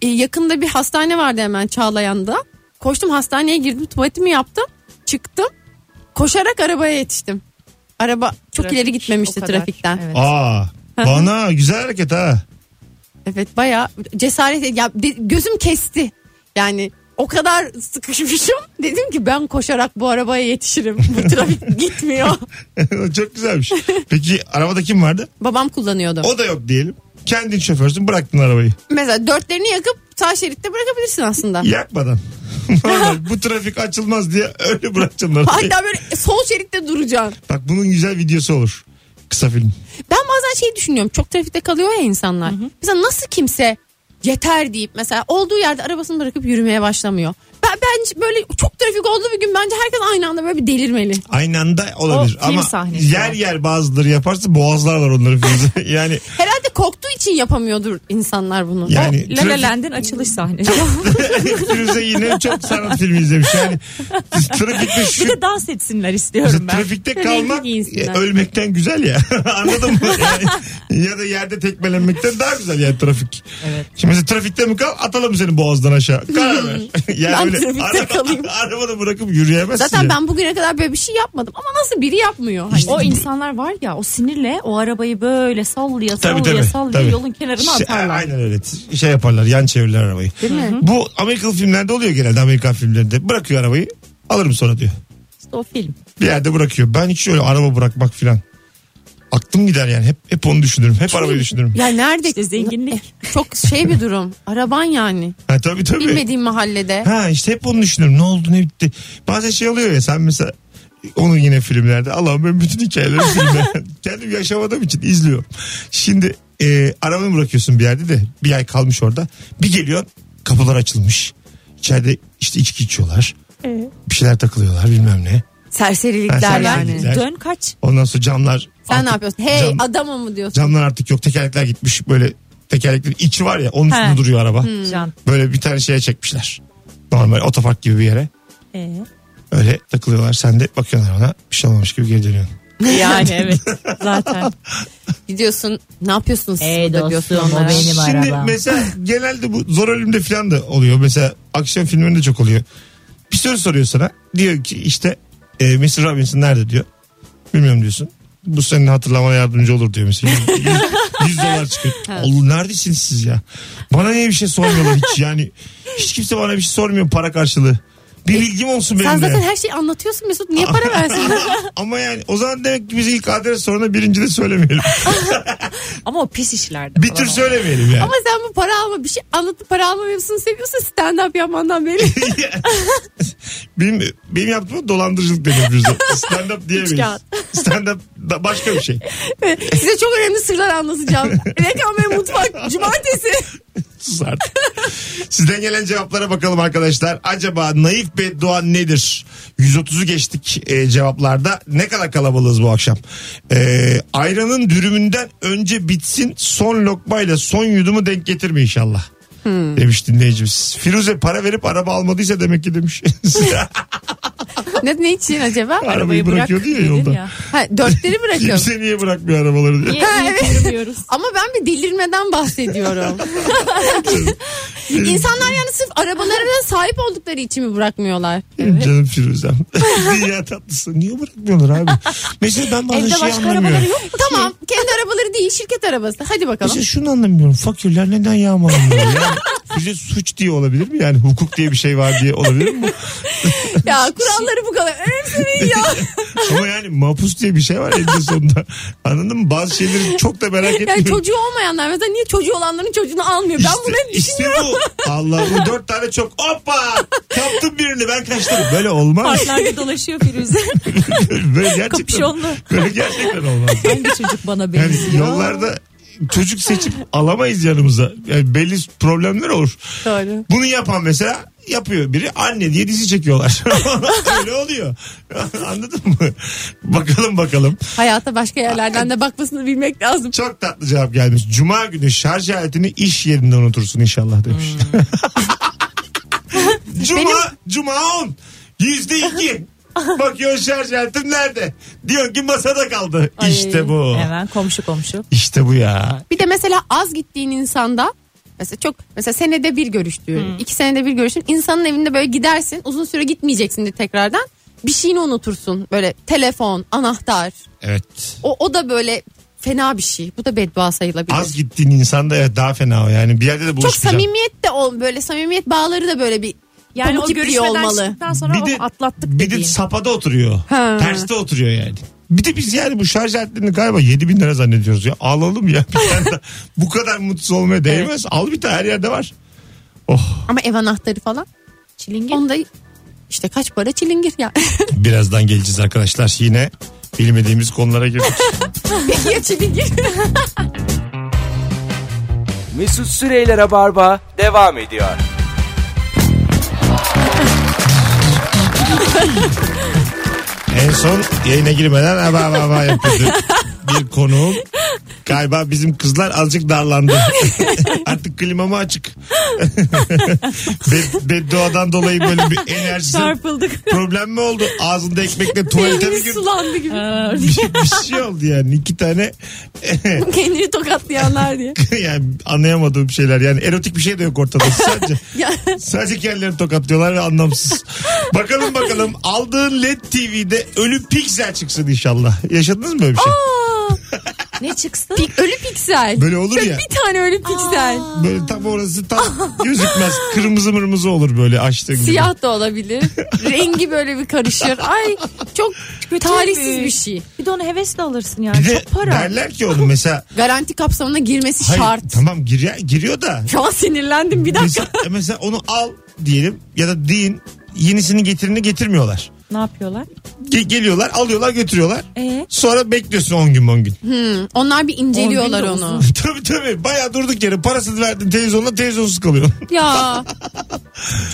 [SPEAKER 3] E, yakında bir hastane vardı hemen Çağlayan'da. Koştum hastaneye girdim tuvaletimi yaptım. Çıktım. Koşarak arabaya yetiştim. Araba çok
[SPEAKER 4] Trafik,
[SPEAKER 3] ileri gitmemişti
[SPEAKER 4] o kadar.
[SPEAKER 3] trafikten. Evet,
[SPEAKER 4] Evet.
[SPEAKER 2] [laughs] Aa. Bana güzel hareket ha. [laughs]
[SPEAKER 3] bayağı cesaret ya de- gözüm kesti. Yani o kadar sıkışmışım. [laughs] Dedim ki ben koşarak bu arabaya yetişirim.
[SPEAKER 4] [laughs]
[SPEAKER 3] Bu trafik gitmiyor.
[SPEAKER 2] Çok güzelmiş. Peki arabada kim vardı?
[SPEAKER 3] Babam kullanıyordu.
[SPEAKER 2] O da yok diyelim. Kendin şoförsün bıraktın arabayı.
[SPEAKER 3] Mesela dörtlerini yakıp sağ şeritte bırakabilirsin aslında.
[SPEAKER 2] Yakmadan. [laughs] Vallahi bu trafik açılmaz diye öyle bırakacağım arabayı.
[SPEAKER 3] [laughs] Hatta böyle sol şeritte duracaksın.
[SPEAKER 2] Bak bunun güzel videosu olur. Kısa film.
[SPEAKER 3] Ben bazen şey düşünüyorum. Çok trafikte kalıyor ya insanlar. Mesela nasıl kimse yeter deyip mesela olduğu yerde arabasını bırakıp yürümeye başlamıyor. Ben bence böyle çok trafik olduğu bir gün bence herkes aynı anda böyle bir delirmeli.
[SPEAKER 2] Aynı anda olabilir.
[SPEAKER 4] O film
[SPEAKER 2] Ama
[SPEAKER 4] sahnesi
[SPEAKER 2] yer
[SPEAKER 4] o.
[SPEAKER 2] yer bazıları yaparsa boğazlarlar onları filmde. [laughs] yani
[SPEAKER 3] Herhalde korktuğu için yapamıyordur insanlar bunu.
[SPEAKER 2] yani
[SPEAKER 4] La La Land'in açılış sahnesi.
[SPEAKER 2] trafik- Firuze yine çok sanat filmi izlemiş. Yani trafikte şu
[SPEAKER 4] [laughs] bir de dans etsinler istiyorum ben.
[SPEAKER 2] trafikte
[SPEAKER 3] Renkli
[SPEAKER 2] kalmak
[SPEAKER 3] giyinsinler.
[SPEAKER 2] e, ölmekten güzel ya. [laughs] Anladın mı? Yani, ya da yerde tekmelenmekten daha güzel yani trafik.
[SPEAKER 4] Evet.
[SPEAKER 2] Şimdi mesela trafikte mi kal atalım seni boğazdan aşağı. Karar
[SPEAKER 4] [laughs]
[SPEAKER 2] ver. [laughs] yani
[SPEAKER 3] Ben trafikte kalayım.
[SPEAKER 2] [laughs] arabada bırakıp yürüyemezsin.
[SPEAKER 3] Zaten
[SPEAKER 2] ya.
[SPEAKER 3] ben bugüne kadar böyle bir şey yapmadım ama nasıl biri yapmıyor? Hani
[SPEAKER 4] O insanlar var ya o sinirle o arabayı böyle sallaya sallaya sallaya
[SPEAKER 2] tabii.
[SPEAKER 4] yolun kenarına
[SPEAKER 2] Şey-
[SPEAKER 4] atarlar.
[SPEAKER 2] Aynen öyle. Şey yaparlar yan çevirirler arabayı. Bu Amerikalı filmlerde oluyor genelde Amerikan filmlerinde. Bırakıyor arabayı alırım sonra diyor.
[SPEAKER 4] İşte o film.
[SPEAKER 2] Bir yerde bırakıyor. Ben hiç öyle araba bırakmak filan. Aklım gider yani. Hep, hep onu düşünürüm. Hep arabayı düşünürüm.
[SPEAKER 3] ya nerede?
[SPEAKER 4] İşte zenginlik.
[SPEAKER 3] Çok şey bir durum. Araban yani.
[SPEAKER 2] Ha, tabii tabii.
[SPEAKER 3] Bilmediğim mahallede.
[SPEAKER 2] Ha işte hep onu düşünürüm. Ne oldu ne bitti. Bazen şey oluyor ya sen mesela onu yine filmlerde. Allah'ım ben bütün hikayeleri filmlerden. [laughs] Kendim yaşamadığım için izliyorum. Şimdi e, arabanı bırakıyorsun bir yerde de bir ay kalmış orada. Bir geliyor kapılar açılmış. İçeride işte içki içiyorlar. Bir şeyler takılıyorlar bilmem ne. Ha,
[SPEAKER 3] Serserilikler
[SPEAKER 2] serserilikler.
[SPEAKER 3] yani.
[SPEAKER 2] Güzel.
[SPEAKER 4] Dön kaç.
[SPEAKER 2] Ondan sonra camlar.
[SPEAKER 3] Sen
[SPEAKER 2] artık-
[SPEAKER 3] ne yapıyorsun? Hey
[SPEAKER 2] cam-
[SPEAKER 3] adamım mı diyorsun?
[SPEAKER 2] camlar artık yok tekerlekler gitmiş böyle tekerleklerin içi var ya onun üstünde
[SPEAKER 4] He. Hmm.
[SPEAKER 2] duruyor araba.
[SPEAKER 4] Can.
[SPEAKER 2] Böyle bir tane şeye çekmişler. Normal otopark gibi bir yere.
[SPEAKER 4] Ee,
[SPEAKER 2] Öyle takılıyorlar. Sen de bakıyorsun ona bir şey olmamış gibi geri dönüyorsun.
[SPEAKER 4] E, yani evet zaten.
[SPEAKER 3] Gidiyorsun ne yapıyorsunuz siz
[SPEAKER 4] Ey dostum,
[SPEAKER 3] burada diyorsun
[SPEAKER 4] o
[SPEAKER 3] onlara.
[SPEAKER 4] benim.
[SPEAKER 2] Şimdi
[SPEAKER 4] arabam.
[SPEAKER 2] mesela genelde bu zor ölümde falan da oluyor. Mesela akşam filmlerinde çok oluyor. Bir soru soruyor sana. Diyor ki işte e, Mr. Robinson nerede diyor. Bilmiyorum diyorsun. Bu senin hatırlamana yardımcı olur diyor mesela. 100 dolar
[SPEAKER 3] [laughs]
[SPEAKER 2] çıkıyor. Allah neredesiniz siz ya? Bana niye bir şey sormuyorlar hiç yani. Hiç kimse bana bir şey sormuyor para karşılığı. Bir bilgim olsun benim
[SPEAKER 3] E, Sen
[SPEAKER 2] de.
[SPEAKER 3] zaten her şeyi anlatıyorsun Mesut. Niye
[SPEAKER 4] [laughs]
[SPEAKER 3] para versin?
[SPEAKER 2] [laughs] Ama yani o zaman demek ki biz ilk adres soruna birinci de söylemeyelim.
[SPEAKER 4] Ama o pis işlerde.
[SPEAKER 2] Bir
[SPEAKER 4] falan
[SPEAKER 2] tür
[SPEAKER 4] o.
[SPEAKER 2] söylemeyelim yani.
[SPEAKER 3] Ama sen bu para alma bir şey anlatıp para alma mevzusunu seviyorsan stand up
[SPEAKER 4] [laughs]
[SPEAKER 3] yapmandan beri.
[SPEAKER 2] benim, benim yaptığım dolandırıcılık deniyor bize. Stand up diyemeyiz.
[SPEAKER 3] kağıt.
[SPEAKER 2] Stand up da başka bir şey.
[SPEAKER 3] Size çok önemli sırlar anlatacağım. Reklam ve mutfak cumartesi.
[SPEAKER 2] Sus artık. Sizden gelen cevaplara bakalım arkadaşlar. Acaba naif beddua nedir? 130'u geçtik e, cevaplarda. Ne kadar kalabalığız bu akşam. E, ayranın dürümünden önce bitsin son lokmayla son yudumu denk getirme inşallah. Demiş dinleyicimiz. Firuze para verip araba almadıysa demek ki demiş.
[SPEAKER 3] ne, ne için acaba?
[SPEAKER 2] Arabayı bırakıyor diye
[SPEAKER 4] dedin
[SPEAKER 2] yolda.
[SPEAKER 4] ya.
[SPEAKER 3] Ha, dörtleri bırakıyorum.
[SPEAKER 2] Kimse niye bırakmıyor arabaları diye.
[SPEAKER 4] Niye
[SPEAKER 3] Ha,
[SPEAKER 4] iyi
[SPEAKER 3] evet.
[SPEAKER 4] korumuyoruz?
[SPEAKER 3] Ama ben bir
[SPEAKER 4] [laughs]
[SPEAKER 3] delirmeden bahsediyorum. [laughs] İnsanlar yani sırf arabalarına sahip oldukları için mi bırakmıyorlar?
[SPEAKER 2] Canım Firuzem. [laughs] Dünya tatlısı. Niye bırakmıyorlar abi? Mesela ben bazen
[SPEAKER 4] Evde
[SPEAKER 2] şey
[SPEAKER 4] başka
[SPEAKER 2] anlamıyorum.
[SPEAKER 4] arabaları yok mu?
[SPEAKER 3] Tamam kendi arabaları değil şirket arabası. Hadi bakalım.
[SPEAKER 2] Mesela şunu anlamıyorum. Fakirler neden yağmalanıyor? Yani bize suç diye olabilir mi? Yani hukuk diye bir şey var diye olabilir mi?
[SPEAKER 3] Ya kuralları bu kadar önemsemeyin ya.
[SPEAKER 2] Ama yani mapus diye bir şey var elinde sonunda. Anladın mı? Bazı şeyleri çok da merak [laughs]
[SPEAKER 3] Yani
[SPEAKER 2] etmiyorum.
[SPEAKER 3] çocuğu olmayanlar mesela niye çocuğu olanların çocuğunu almıyor? Ben bunu hep
[SPEAKER 2] işte bu. Allah bu dört tane çok. Hoppa! Kaptım birini ben kaçtım. Böyle olmaz.
[SPEAKER 4] Parklarda dolaşıyor Firuze.
[SPEAKER 2] Böyle gerçekten.
[SPEAKER 4] Kapüşonlu.
[SPEAKER 2] Böyle gerçekten olmaz.
[SPEAKER 4] Hangi çocuk bana
[SPEAKER 2] Yani
[SPEAKER 4] benziyor?
[SPEAKER 2] yollarda çocuk seçip alamayız yanımıza. Yani belli problemler olur.
[SPEAKER 3] Doğru.
[SPEAKER 2] Bunu yapan mesela yapıyor biri anne diye dizi çekiyorlar. [laughs] Öyle oluyor. [laughs] Anladın mı? Bakalım bakalım.
[SPEAKER 3] Hayata başka yerlerden de bakmasını bilmek lazım.
[SPEAKER 2] Çok tatlı cevap gelmiş. Cuma günü şarj aletini iş yerinde unutursun inşallah demiş. [laughs] Cuma, Cuma 10. Yüzde iki. Bakıyorsun şarj aletim nerede? Diyorsun ki masada kaldı.
[SPEAKER 4] Ay,
[SPEAKER 2] işte bu.
[SPEAKER 4] Hemen komşu komşu.
[SPEAKER 2] İşte bu ya.
[SPEAKER 3] Bir de mesela az gittiğin insanda Mesela çok mesela senede bir görüştüğün, iki senede bir görüştüğün insanın evinde böyle gidersin. Uzun süre gitmeyeceksin de tekrardan. Bir şeyini unutursun. Böyle telefon, anahtar.
[SPEAKER 2] Evet.
[SPEAKER 3] O, o da böyle fena bir şey. Bu da beddua sayılabilir.
[SPEAKER 2] Az gittiğin insan da evet daha fena o yani. Bir yerde de
[SPEAKER 3] çok
[SPEAKER 2] buluşmayacağım.
[SPEAKER 3] samimiyet de ol böyle samimiyet bağları da böyle bir
[SPEAKER 4] Yani o
[SPEAKER 3] Pamuk ipliği
[SPEAKER 4] görüşmeden
[SPEAKER 3] olmalı.
[SPEAKER 4] çıktıktan sonra
[SPEAKER 2] Bir de-
[SPEAKER 4] oh, atlattık
[SPEAKER 2] Bir de
[SPEAKER 4] dediğin.
[SPEAKER 2] sapada oturuyor.
[SPEAKER 3] Ha.
[SPEAKER 2] Terste oturuyor yani. Bir de biz yani bu şarj aletlerini galiba 7 bin lira zannediyoruz ya. Alalım ya. Bir tane daha. bu kadar mutsuz olmaya değmez. Al bir tane her yerde var. Oh
[SPEAKER 3] ama ev anahtarı falan.
[SPEAKER 4] Çilingir.
[SPEAKER 3] Onda işte kaç para çilingir ya.
[SPEAKER 2] birazdan geleceğiz arkadaşlar. Yine bilmediğimiz konulara girdik.
[SPEAKER 3] Peki ya çilingir?
[SPEAKER 1] Mesut Süreyler'e barba devam ediyor.
[SPEAKER 2] en son yayına girmeden aba aba aba yapıyordu. bir konuğum. Galiba bizim kızlar azıcık darlandı. Artık klimamı açık. [laughs] Be- bedduadan dolayı böyle bir enerjisi
[SPEAKER 4] Çarpıldık.
[SPEAKER 2] problem mi oldu? Ağzında ekmekle tuvalete mi
[SPEAKER 3] Beynimiz
[SPEAKER 2] girdi?
[SPEAKER 3] sulandı gibi.
[SPEAKER 2] bir, [laughs] bir şey oldu yani iki tane [laughs]
[SPEAKER 3] Kendini tokatlayanlar diye.
[SPEAKER 2] yani anlayamadığım şeyler yani erotik bir şey de yok ortada sadece
[SPEAKER 3] Ya,
[SPEAKER 2] sadece kendilerini tokatlıyorlar ve anlamsız bakalım bakalım aldığın E led tv'de ölü piksel çıksın inşallah yaşadınız mı böyle bir şey
[SPEAKER 4] [laughs] ne çıksın?
[SPEAKER 3] pik- ölü piksel.
[SPEAKER 2] böyle olur
[SPEAKER 3] Böyle
[SPEAKER 2] ya
[SPEAKER 3] bir tane ölü piksel.
[SPEAKER 2] böyle tam orası tam gözükmez kırmızı mırmızı olur böyle açtığın gibi
[SPEAKER 3] Siyah da olabilir. Rengi böyle bir karışır. Ay çok tarihsiz bir şey.
[SPEAKER 4] Bir de onu hevesle alırsın yani.
[SPEAKER 2] bir de
[SPEAKER 4] Çok para.
[SPEAKER 2] derler ki oğlum mesela
[SPEAKER 3] Garanti kapsamına girmesi
[SPEAKER 2] hayır,
[SPEAKER 3] şart.
[SPEAKER 2] tamam giriyor, giriyor da
[SPEAKER 3] Şu an sinirlendim bir dakika.
[SPEAKER 2] mesela, e, mesela onu al diyelim ya da deyin yenisini getirini getirmiyorlar
[SPEAKER 4] Ne yapıyorlar?
[SPEAKER 2] Ge- geliyorlar alıyorlar götürüyorlar.
[SPEAKER 4] Ee?
[SPEAKER 2] Sonra bekliyorsun 10 gün 10 gün. [laughs]
[SPEAKER 3] Onlar bir inceliyorlar
[SPEAKER 4] On gün de
[SPEAKER 3] [laughs] onu.
[SPEAKER 2] tabii tabii baya durduk yere parasını verdin televizyonla televizyonsuz kalıyorsun. [laughs]
[SPEAKER 3] Ya.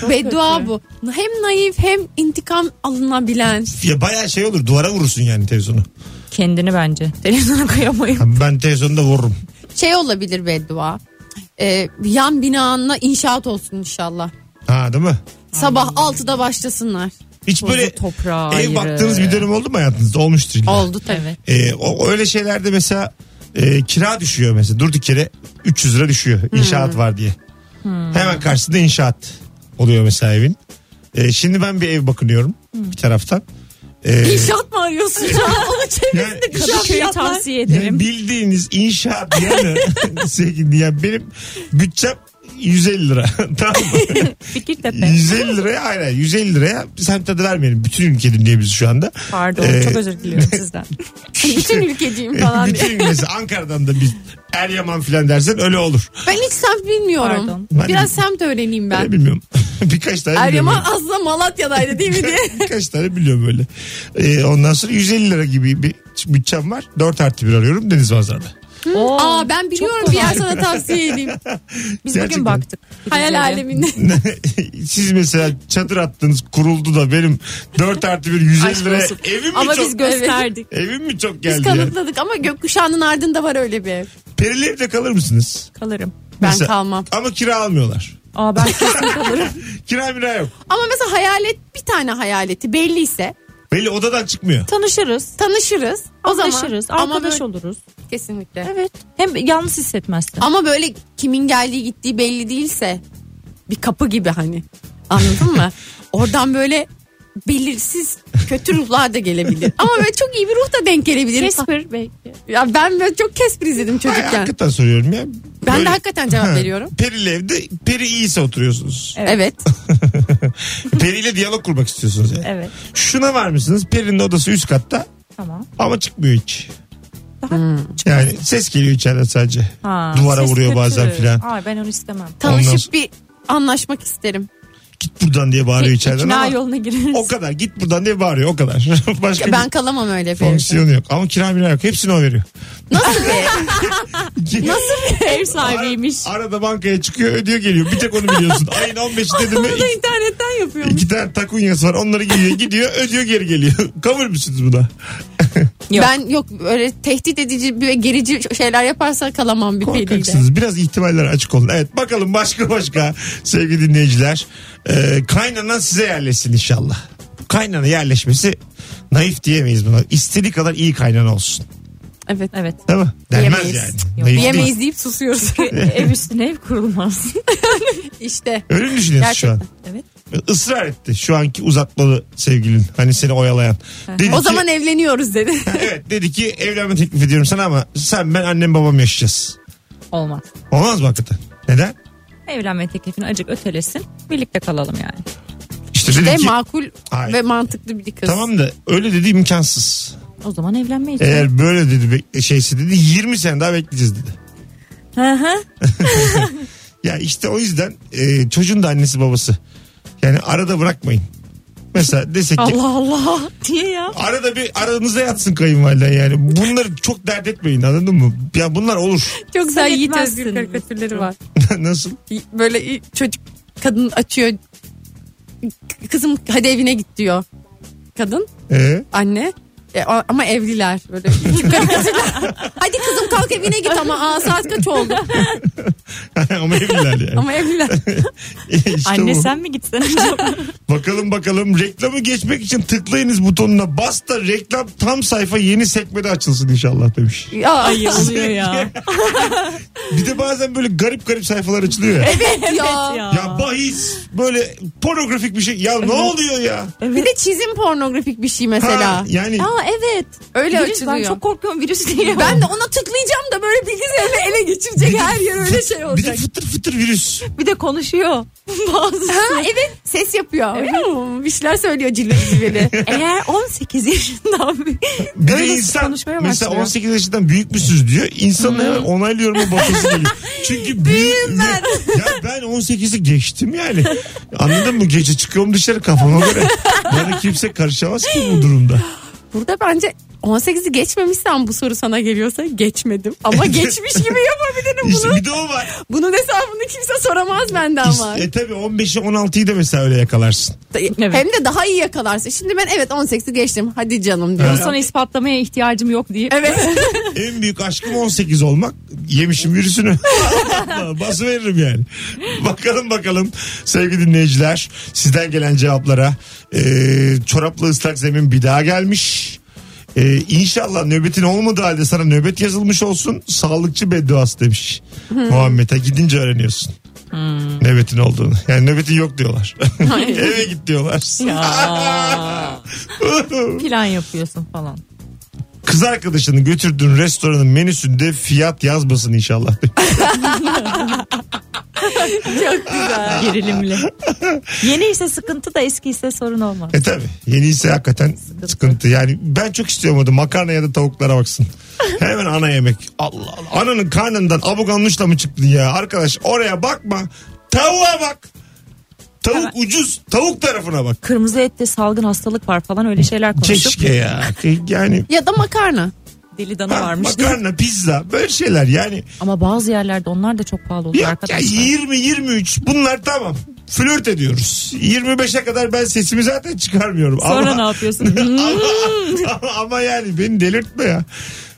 [SPEAKER 3] Beddua bu. Hem naif hem intikam alınabilen.
[SPEAKER 2] ya baya şey olur duvara vurursun yani televizyonu.
[SPEAKER 4] Kendini bence. Televizyona koyamayım.
[SPEAKER 2] Ha, Ben televizyonu da vururum.
[SPEAKER 3] Şey olabilir beddua. Ee, yan binanla inşaat olsun inşallah.
[SPEAKER 2] Ha değil mi?
[SPEAKER 3] Sabah 6'da başlasınlar.
[SPEAKER 2] Hiç böyle
[SPEAKER 4] toprağa
[SPEAKER 2] ev
[SPEAKER 4] ayrı.
[SPEAKER 2] baktığınız bir dönem oldu mu hayatınızda? Olmuştur illa.
[SPEAKER 3] Oldu tabii.
[SPEAKER 4] Evet.
[SPEAKER 2] Ee, o, öyle şeylerde mesela e, kira düşüyor mesela durduk yere 300 lira düşüyor inşaat
[SPEAKER 3] Hmm.
[SPEAKER 2] var diye. Hemen karşısında inşaat oluyor mesela evin. Ee, şimdi ben bir ev bakınıyorum
[SPEAKER 3] Hmm.
[SPEAKER 2] bir taraftan.
[SPEAKER 3] [laughs]
[SPEAKER 2] Ee,
[SPEAKER 3] İnşaat mı [laughs] arıyorsun? Şu an onu çevir.
[SPEAKER 2] yani-
[SPEAKER 4] Kadıköy'ü tavsiye
[SPEAKER 2] Yani [laughs]
[SPEAKER 4] ederim.
[SPEAKER 2] bildiğiniz inşaat yanı
[SPEAKER 3] [laughs]
[SPEAKER 2] sevgili dinleyen, benim bütçem 150 lira. [laughs] tamam
[SPEAKER 3] [laughs]
[SPEAKER 2] mı?
[SPEAKER 4] Fikirtepe.
[SPEAKER 2] 150 liraya aynen 150 liraya semt adı vermeyelim. Bütün ülke dinliyor bizi şu anda.
[SPEAKER 4] Pardon
[SPEAKER 2] Ee,
[SPEAKER 4] çok
[SPEAKER 2] [laughs]
[SPEAKER 4] özür diliyorum sizden.
[SPEAKER 3] Bütün ülkeciyim falan diye.
[SPEAKER 2] Bütün ülke mesela Ankara'dan da bir Eryaman filan dersen öyle olur.
[SPEAKER 3] Ben hiç semt bilmiyorum.
[SPEAKER 4] Pardon.
[SPEAKER 2] Ben de
[SPEAKER 3] Biraz semt öğreneyim
[SPEAKER 2] Ben
[SPEAKER 3] ben.
[SPEAKER 2] bilmiyorum. [laughs] Birkaç tane
[SPEAKER 3] Eryaman
[SPEAKER 2] biliyorum.
[SPEAKER 3] aslında Malatya'daydı değil mi
[SPEAKER 4] [laughs]
[SPEAKER 3] diye.
[SPEAKER 2] [laughs] Birkaç tane biliyorum öyle. Ee, ondan sonra 150 lira gibi bir bütçem var. 4 artı 1 arıyorum deniz manzarada.
[SPEAKER 4] Oo,
[SPEAKER 3] [laughs] Aa ben biliyorum
[SPEAKER 4] kolay.
[SPEAKER 3] bir yer sana tavsiye edeyim. [laughs]
[SPEAKER 4] Biz
[SPEAKER 2] Gerçekten.
[SPEAKER 4] bugün baktık.
[SPEAKER 3] Hayal aleminde.
[SPEAKER 2] [laughs] Siz mesela çadır attınız kuruldu da benim 4 artı 1 150
[SPEAKER 4] Aşk
[SPEAKER 2] liraya
[SPEAKER 4] olsun.
[SPEAKER 2] evim mi
[SPEAKER 4] Ama
[SPEAKER 2] çok?
[SPEAKER 4] biz gösterdik.
[SPEAKER 2] Evim mi çok
[SPEAKER 3] Biz
[SPEAKER 2] geldi ya?
[SPEAKER 3] kanıtladık ama gökkuşağının ardında var öyle bir ev.
[SPEAKER 2] Perili evde kalır mısınız?
[SPEAKER 4] Kalırım.
[SPEAKER 3] Ben
[SPEAKER 2] Mesela-
[SPEAKER 3] kalmam.
[SPEAKER 2] Ama kira almıyorlar.
[SPEAKER 4] Aa ben kesin kalırım.
[SPEAKER 2] Kira mira yok.
[SPEAKER 3] Ama mesela hayalet bir tane hayaleti belliyse
[SPEAKER 2] Belli odadan çıkmıyor.
[SPEAKER 4] Tanışırız.
[SPEAKER 3] tanışırız. O
[SPEAKER 4] Anlaşırız.
[SPEAKER 3] zaman
[SPEAKER 4] Arkadaş
[SPEAKER 3] böyle-
[SPEAKER 4] oluruz.
[SPEAKER 3] Kesinlikle.
[SPEAKER 4] Evet. Hem yalnız hissetmezsin.
[SPEAKER 3] Ama böyle kimin geldiği gittiği belli değilse bir kapı gibi hani. Anladın
[SPEAKER 2] [laughs]
[SPEAKER 3] mı? Oradan böyle belirsiz kötü ruhlar da gelebilir. Ama böyle çok iyi bir ruh da denk gelebilir.
[SPEAKER 4] Casper belki.
[SPEAKER 3] Ya ben böyle çok Casper izledim
[SPEAKER 2] Ay,
[SPEAKER 3] çocukken.
[SPEAKER 2] hakikaten soruyorum ya.
[SPEAKER 3] Ben
[SPEAKER 2] Böyle-
[SPEAKER 3] de hakikaten cevap veriyorum.
[SPEAKER 2] Perili evde peri iyiyse
[SPEAKER 4] [laughs]
[SPEAKER 2] oturuyorsunuz.
[SPEAKER 4] Evet.
[SPEAKER 3] Evet.
[SPEAKER 2] Periyle diyalog kurmak istiyorsunuz yani.
[SPEAKER 4] Evet.
[SPEAKER 2] Şuna var mısınız? Perinin odası üst katta
[SPEAKER 4] Tamam.
[SPEAKER 2] ama çıkmıyor hiç.
[SPEAKER 4] Daha
[SPEAKER 2] Yani ses geliyor içeriden sadece.
[SPEAKER 4] Ha,
[SPEAKER 2] Duvara
[SPEAKER 4] ses
[SPEAKER 2] vuruyor
[SPEAKER 4] kötü.
[SPEAKER 2] bazen filan.
[SPEAKER 4] Ay ben onu istemem.
[SPEAKER 2] Ondan
[SPEAKER 3] Tanışıp
[SPEAKER 2] sonra-
[SPEAKER 3] bir anlaşmak isterim.
[SPEAKER 2] Git buradan diye bağırıyor içeriden
[SPEAKER 4] İkna
[SPEAKER 2] ama
[SPEAKER 4] yoluna gireriz.
[SPEAKER 2] o kadar git buradan diye bağırıyor o kadar. [laughs] Başka
[SPEAKER 3] Ben
[SPEAKER 2] bir
[SPEAKER 3] kalamam öyle bir evde.
[SPEAKER 2] fonksiyonu yok. Ama kira mira yok. Hepsini o veriyor.
[SPEAKER 3] Nasıl
[SPEAKER 2] [laughs]
[SPEAKER 3] be?
[SPEAKER 4] Nasıl bir [laughs] ev sahibiymiş?
[SPEAKER 2] Ara- Arada bankaya çıkıyor ödüyor geliyor. Bir tek onu
[SPEAKER 4] [laughs]
[SPEAKER 2] biliyorsun. Ayın 15'i dedim mi
[SPEAKER 4] Bunu da internetten
[SPEAKER 2] iki, [laughs]
[SPEAKER 4] yapıyormuş.
[SPEAKER 2] iki tane takunyası var. Onları giyiyor gidiyor ödüyor geri geliyor. [laughs] Kabul müsünüz buna?
[SPEAKER 4] Yok.
[SPEAKER 3] Ben yok öyle tehdit edici ve gerici şeyler yaparsa kalamam bir periyle.
[SPEAKER 2] Korkaksınız. Biraz ihtimaller açık olun. Evet bakalım başka başka sevgili dinleyiciler. Ee, kaynanan size yerleşsin inşallah. Kaynana yerleşmesi naif diyemeyiz buna. İstediği kadar iyi kaynana olsun.
[SPEAKER 3] Evet.
[SPEAKER 4] Evet.
[SPEAKER 2] Değil mi? Denmez
[SPEAKER 3] Diyemeyiz.
[SPEAKER 2] yani. Naif
[SPEAKER 4] Yok,
[SPEAKER 2] değil.
[SPEAKER 3] Yemeyiz deyip susuyoruz. [laughs]
[SPEAKER 4] ev üstüne ev kurulmaz.
[SPEAKER 3] işte.
[SPEAKER 2] Öyle mi düşünüyorsun şu an?
[SPEAKER 4] Evet.
[SPEAKER 2] Israr etti şu anki uzatmalı sevgilin. Hani seni oyalayan. Dedi
[SPEAKER 3] O
[SPEAKER 2] ki-
[SPEAKER 3] zaman evleniyoruz dedi.
[SPEAKER 2] [laughs] Evet dedi ki evlenme teklif ediyorum sana ama sen ben annem babam yaşayacağız.
[SPEAKER 4] Olmaz.
[SPEAKER 2] Olmaz mı hakikaten? Neden?
[SPEAKER 4] Evlenme teklifini acık ötelesin. Birlikte kalalım yani.
[SPEAKER 2] İşte,
[SPEAKER 3] Ve
[SPEAKER 2] dedi ki
[SPEAKER 3] makul
[SPEAKER 2] Hayır.
[SPEAKER 3] ve mantıklı bir kız.
[SPEAKER 2] tamam da öyle dedi imkansız.
[SPEAKER 4] O zaman evlenmeyiz.
[SPEAKER 2] Eğer böyle dedi bekle- şeysi dedi 20 sene daha bekleyeceğiz dedi.
[SPEAKER 4] Hı hı.
[SPEAKER 2] Ya işte o yüzden e, çocuğun da annesi babası. Yani arada bırakmayın. Mesela desek ki
[SPEAKER 4] Allah Allah. Niye ya?
[SPEAKER 2] arada bir aranızda yatsın kayınvaliden yani. Bunları çok dert etmeyin anladın mı? Ya bunlar olur. [laughs]
[SPEAKER 3] Çok güzel
[SPEAKER 4] Sen
[SPEAKER 3] Yiğit
[SPEAKER 4] etmezsin.
[SPEAKER 3] Özgür karikatürleri var.
[SPEAKER 2] Nasıl?
[SPEAKER 3] Böyle çocuk kadın açıyor. Kızım hadi evine git diyor. Kadın
[SPEAKER 2] Ee?
[SPEAKER 3] anne. E, a- ama evliler böyle şey. küçük karikatürler. Hadi kızım kalk evine git ama aa, saat kaç oldu
[SPEAKER 2] [laughs] Ama evliler yani.
[SPEAKER 3] [laughs] ama evliler.
[SPEAKER 2] işte
[SPEAKER 4] Anne
[SPEAKER 2] bu.
[SPEAKER 4] sen mi gitsen?
[SPEAKER 2] Bakalım bakalım reklamı geçmek için tıklayınız butonuna. Bas da reklam tam sayfa yeni sekmede açılsın inşallah demiş.
[SPEAKER 3] Ya,
[SPEAKER 4] Ay oluyor ya.
[SPEAKER 2] Bir de bazen böyle garip garip sayfalar açılıyor ya.
[SPEAKER 3] ya.
[SPEAKER 2] Ya bahis böyle pornografik bir şey. Ya ne oluyor ya?
[SPEAKER 3] Bir de çizim pornografik bir şey mesela.
[SPEAKER 2] Ha, yani
[SPEAKER 4] Aa evet.
[SPEAKER 3] Öyle
[SPEAKER 4] Virüs,
[SPEAKER 3] açılıyor.
[SPEAKER 4] ben çok korkuyorum virüs diye.
[SPEAKER 3] Ben de ona tıklayacağım da böyle bilgisayarı ele geçirecek her yer öyle şey
[SPEAKER 2] bir de
[SPEAKER 3] olacak.
[SPEAKER 2] fıtır fıtır virüs.
[SPEAKER 4] bir de konuşuyor. Bazısı.
[SPEAKER 3] Ha evet ses yapıyor. Evet. Bir şeyler söylüyor cilveli cilveli.
[SPEAKER 4] Eğer 18 yaşından bir
[SPEAKER 2] Bir de
[SPEAKER 4] Öyle
[SPEAKER 2] insan
[SPEAKER 4] konuşmaya
[SPEAKER 2] mesela
[SPEAKER 4] başlıyor.
[SPEAKER 2] 18 yaşından büyük müsüz diyor. İnsanın hemen onaylıyorum o bakısı
[SPEAKER 3] [laughs]
[SPEAKER 2] geliyor. Çünkü büyük ben. Ya ben 18'i geçtim yani. Anladın mı? Gece çıkıyorum dışarı kafama göre. Bana kimse karışamaz ki bu durumda.
[SPEAKER 3] Burada bence 18'i geçmemişsen bu soru sana geliyorsa geçmedim. Ama geçmiş gibi yapabilirim
[SPEAKER 2] İşte
[SPEAKER 3] bunu.
[SPEAKER 2] bir de o var.
[SPEAKER 3] Bunun hesabını kimse soramaz benden var.
[SPEAKER 2] E tabii 15'i 16'yı da mesela öyle yakalarsın.
[SPEAKER 4] Evet.
[SPEAKER 3] Hem de daha iyi yakalarsın. Şimdi ben evet 18'i geçtim. Hadi canım
[SPEAKER 4] Bunu
[SPEAKER 3] diyorum.
[SPEAKER 4] sana ispatlamaya ihtiyacım yok diye.
[SPEAKER 3] Evet.
[SPEAKER 2] En büyük aşkım 18 olmak. Yemişim virüsünü. Bası veririm yani. Bakalım bakalım sevgili dinleyiciler sizden gelen cevaplara. Ee, çoraplı ıslak zemin bir daha gelmiş. Ee, inşallah nöbetin olmadığı halde sana nöbet yazılmış olsun. Sağlıkçı bedduası demiş. Muhammed'e gidince öğreniyorsun. Nöbetin olduğunu. Yani nöbetin yok diyorlar. [laughs] Eve git diyorlar. [laughs]
[SPEAKER 4] Ya. Plan yapıyorsun falan.
[SPEAKER 2] Kız arkadaşını götürdüğün restoranın menüsünde fiyat yazmasın inşallah. [laughs]
[SPEAKER 3] Çok güzel.
[SPEAKER 2] [laughs]
[SPEAKER 4] Gerilimli. Yeni ise sıkıntı da eski ise sorun olmaz.
[SPEAKER 2] E tabi yeni ise hakikaten sıkıntı. Yani ben çok istiyorum orada makarna ya da tavuklara baksın. Hemen ana yemek. Allah Allah. Ananın karnından abuganlışla mı çıktın ya? Arkadaş oraya bakma. Tavuğa bak. Tavuk ucuz. Tavuk tarafına bak.
[SPEAKER 4] Kırmızı ette salgın hastalık var falan öyle şeyler konuşup
[SPEAKER 2] Keşke ya. Yani
[SPEAKER 3] Ya da makarna.
[SPEAKER 4] deli dana
[SPEAKER 2] ha,
[SPEAKER 4] varmış.
[SPEAKER 2] makarna, pizza böyle şeyler yani.
[SPEAKER 4] Ama bazı yerlerde onlar da çok pahalı oluyor
[SPEAKER 2] Yok ya
[SPEAKER 4] arkadaşlar.
[SPEAKER 2] 20 23 bunlar tamam. Flört ediyoruz. 25'e kadar ben sesimi zaten çıkarmıyorum. [laughs]
[SPEAKER 4] Sonra
[SPEAKER 2] ama,
[SPEAKER 4] ne yapıyorsun? Hmm,
[SPEAKER 2] ama, ama yani beni delirtme ya.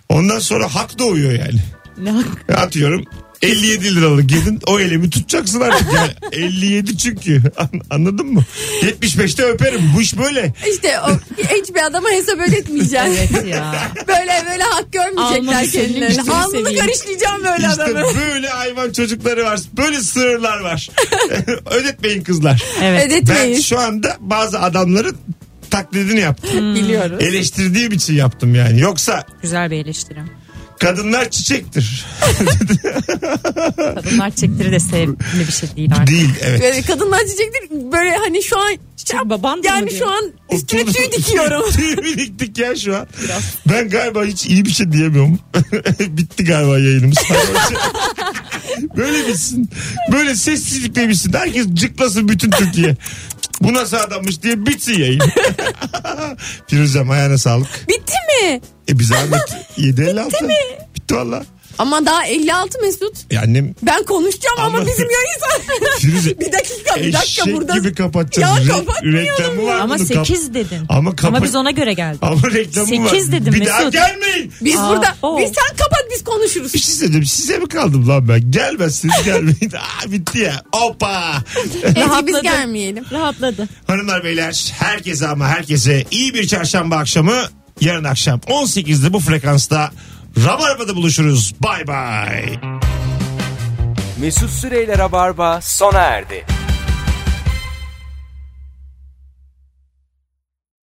[SPEAKER 2] Ondan sonra hak doğuyor yani.
[SPEAKER 4] ne hak-
[SPEAKER 2] Atıyorum 57 liralık yedin o elimi tutacaksın artık
[SPEAKER 4] [laughs]
[SPEAKER 2] yani. 57 çünkü An- anladın mı? 75'te öperim bu iş böyle.
[SPEAKER 3] İşte o, hiçbir adama hesap ödetmeyeceksin.
[SPEAKER 4] evet ya.
[SPEAKER 3] Böyle böyle hak görmeyecekler
[SPEAKER 4] Alnını
[SPEAKER 3] kendilerine.
[SPEAKER 4] seveyim,
[SPEAKER 3] Alnını
[SPEAKER 4] seveyim.
[SPEAKER 3] karıştıracağım böyle
[SPEAKER 2] İşte
[SPEAKER 3] adamı.
[SPEAKER 2] böyle hayvan çocukları var. Böyle sığırlar
[SPEAKER 4] [laughs]
[SPEAKER 2] var. Ödetmeyin kızlar.
[SPEAKER 4] Evet.
[SPEAKER 2] Ben
[SPEAKER 3] Ödetmeyin.
[SPEAKER 2] şu anda bazı adamların taklidini yaptım.
[SPEAKER 4] Hmm.
[SPEAKER 3] Biliyoruz.
[SPEAKER 2] Eleştirdiğim için yaptım yani. Yoksa
[SPEAKER 4] Güzel bir eleştirim.
[SPEAKER 2] kadınlar çiçektir.
[SPEAKER 4] Kadınlar çektiri de sevimli bir şey değil artık.
[SPEAKER 2] Değil evet.
[SPEAKER 3] Böyle kadınlar diyecektir böyle hani şu an
[SPEAKER 4] Çünkü baban da mı
[SPEAKER 3] yani
[SPEAKER 4] diyor?
[SPEAKER 3] şu an üstüne
[SPEAKER 2] Otur- [laughs]
[SPEAKER 3] tüy dikiyorum.
[SPEAKER 2] tüy mü diktik ya şu an. Ben galiba hiç iyi bir şey diyemiyorum. [laughs] Bitti galiba yayınımız. [laughs] Böyle bitsin. Böyle sessizlikle bitsin. Herkes cıklasın bütün Türkiye. Bu nasıl adammış diye bitsin yayın. [laughs] Firuzem ayağına sağlık.
[SPEAKER 3] Bitti mi?
[SPEAKER 2] E biz Ahmet 7.56. Bitti mi? Bitti valla.
[SPEAKER 3] Ama daha 56 Mesut.
[SPEAKER 2] E annem
[SPEAKER 3] Ben konuşacağım ama,
[SPEAKER 2] Ama-
[SPEAKER 3] bizim yayın
[SPEAKER 2] Firuze, [laughs]
[SPEAKER 3] saat. bir dakika bir dakika
[SPEAKER 2] Eşek
[SPEAKER 3] burada.
[SPEAKER 2] gibi
[SPEAKER 3] Ya
[SPEAKER 2] kapatacağız. Re-
[SPEAKER 3] kapatmayalım
[SPEAKER 2] reklamı var
[SPEAKER 4] Ama
[SPEAKER 2] bunun, kap-
[SPEAKER 4] 8 dedin.
[SPEAKER 2] Ama kapa-
[SPEAKER 4] Ama biz ona göre geldik.
[SPEAKER 2] Ama reklamı var.
[SPEAKER 4] Sekiz dedim
[SPEAKER 2] Bir daha
[SPEAKER 4] Mesut.
[SPEAKER 2] gelmeyin.
[SPEAKER 3] Biz
[SPEAKER 4] Aa,
[SPEAKER 3] burada
[SPEAKER 4] o.
[SPEAKER 3] biz sen kapat biz konuşuruz.
[SPEAKER 2] Bir şey söyleyeceğim. Size mi kaldım lan ben? Gelmezsiniz gelmeyin. [laughs] Aa, bitti ya. Hoppa. [laughs]
[SPEAKER 3] Ece biz
[SPEAKER 4] Rahatladı.
[SPEAKER 3] gelmeyelim.
[SPEAKER 4] Rahatladı.
[SPEAKER 2] Hanımlar beyler herkese ama herkese iyi bir çarşamba akşamı. Yarın akşam 18'de bu frekansta Rabarba'da buluşuruz. Bay bay.
[SPEAKER 1] Mesut Süreyler'e barba sona erdi.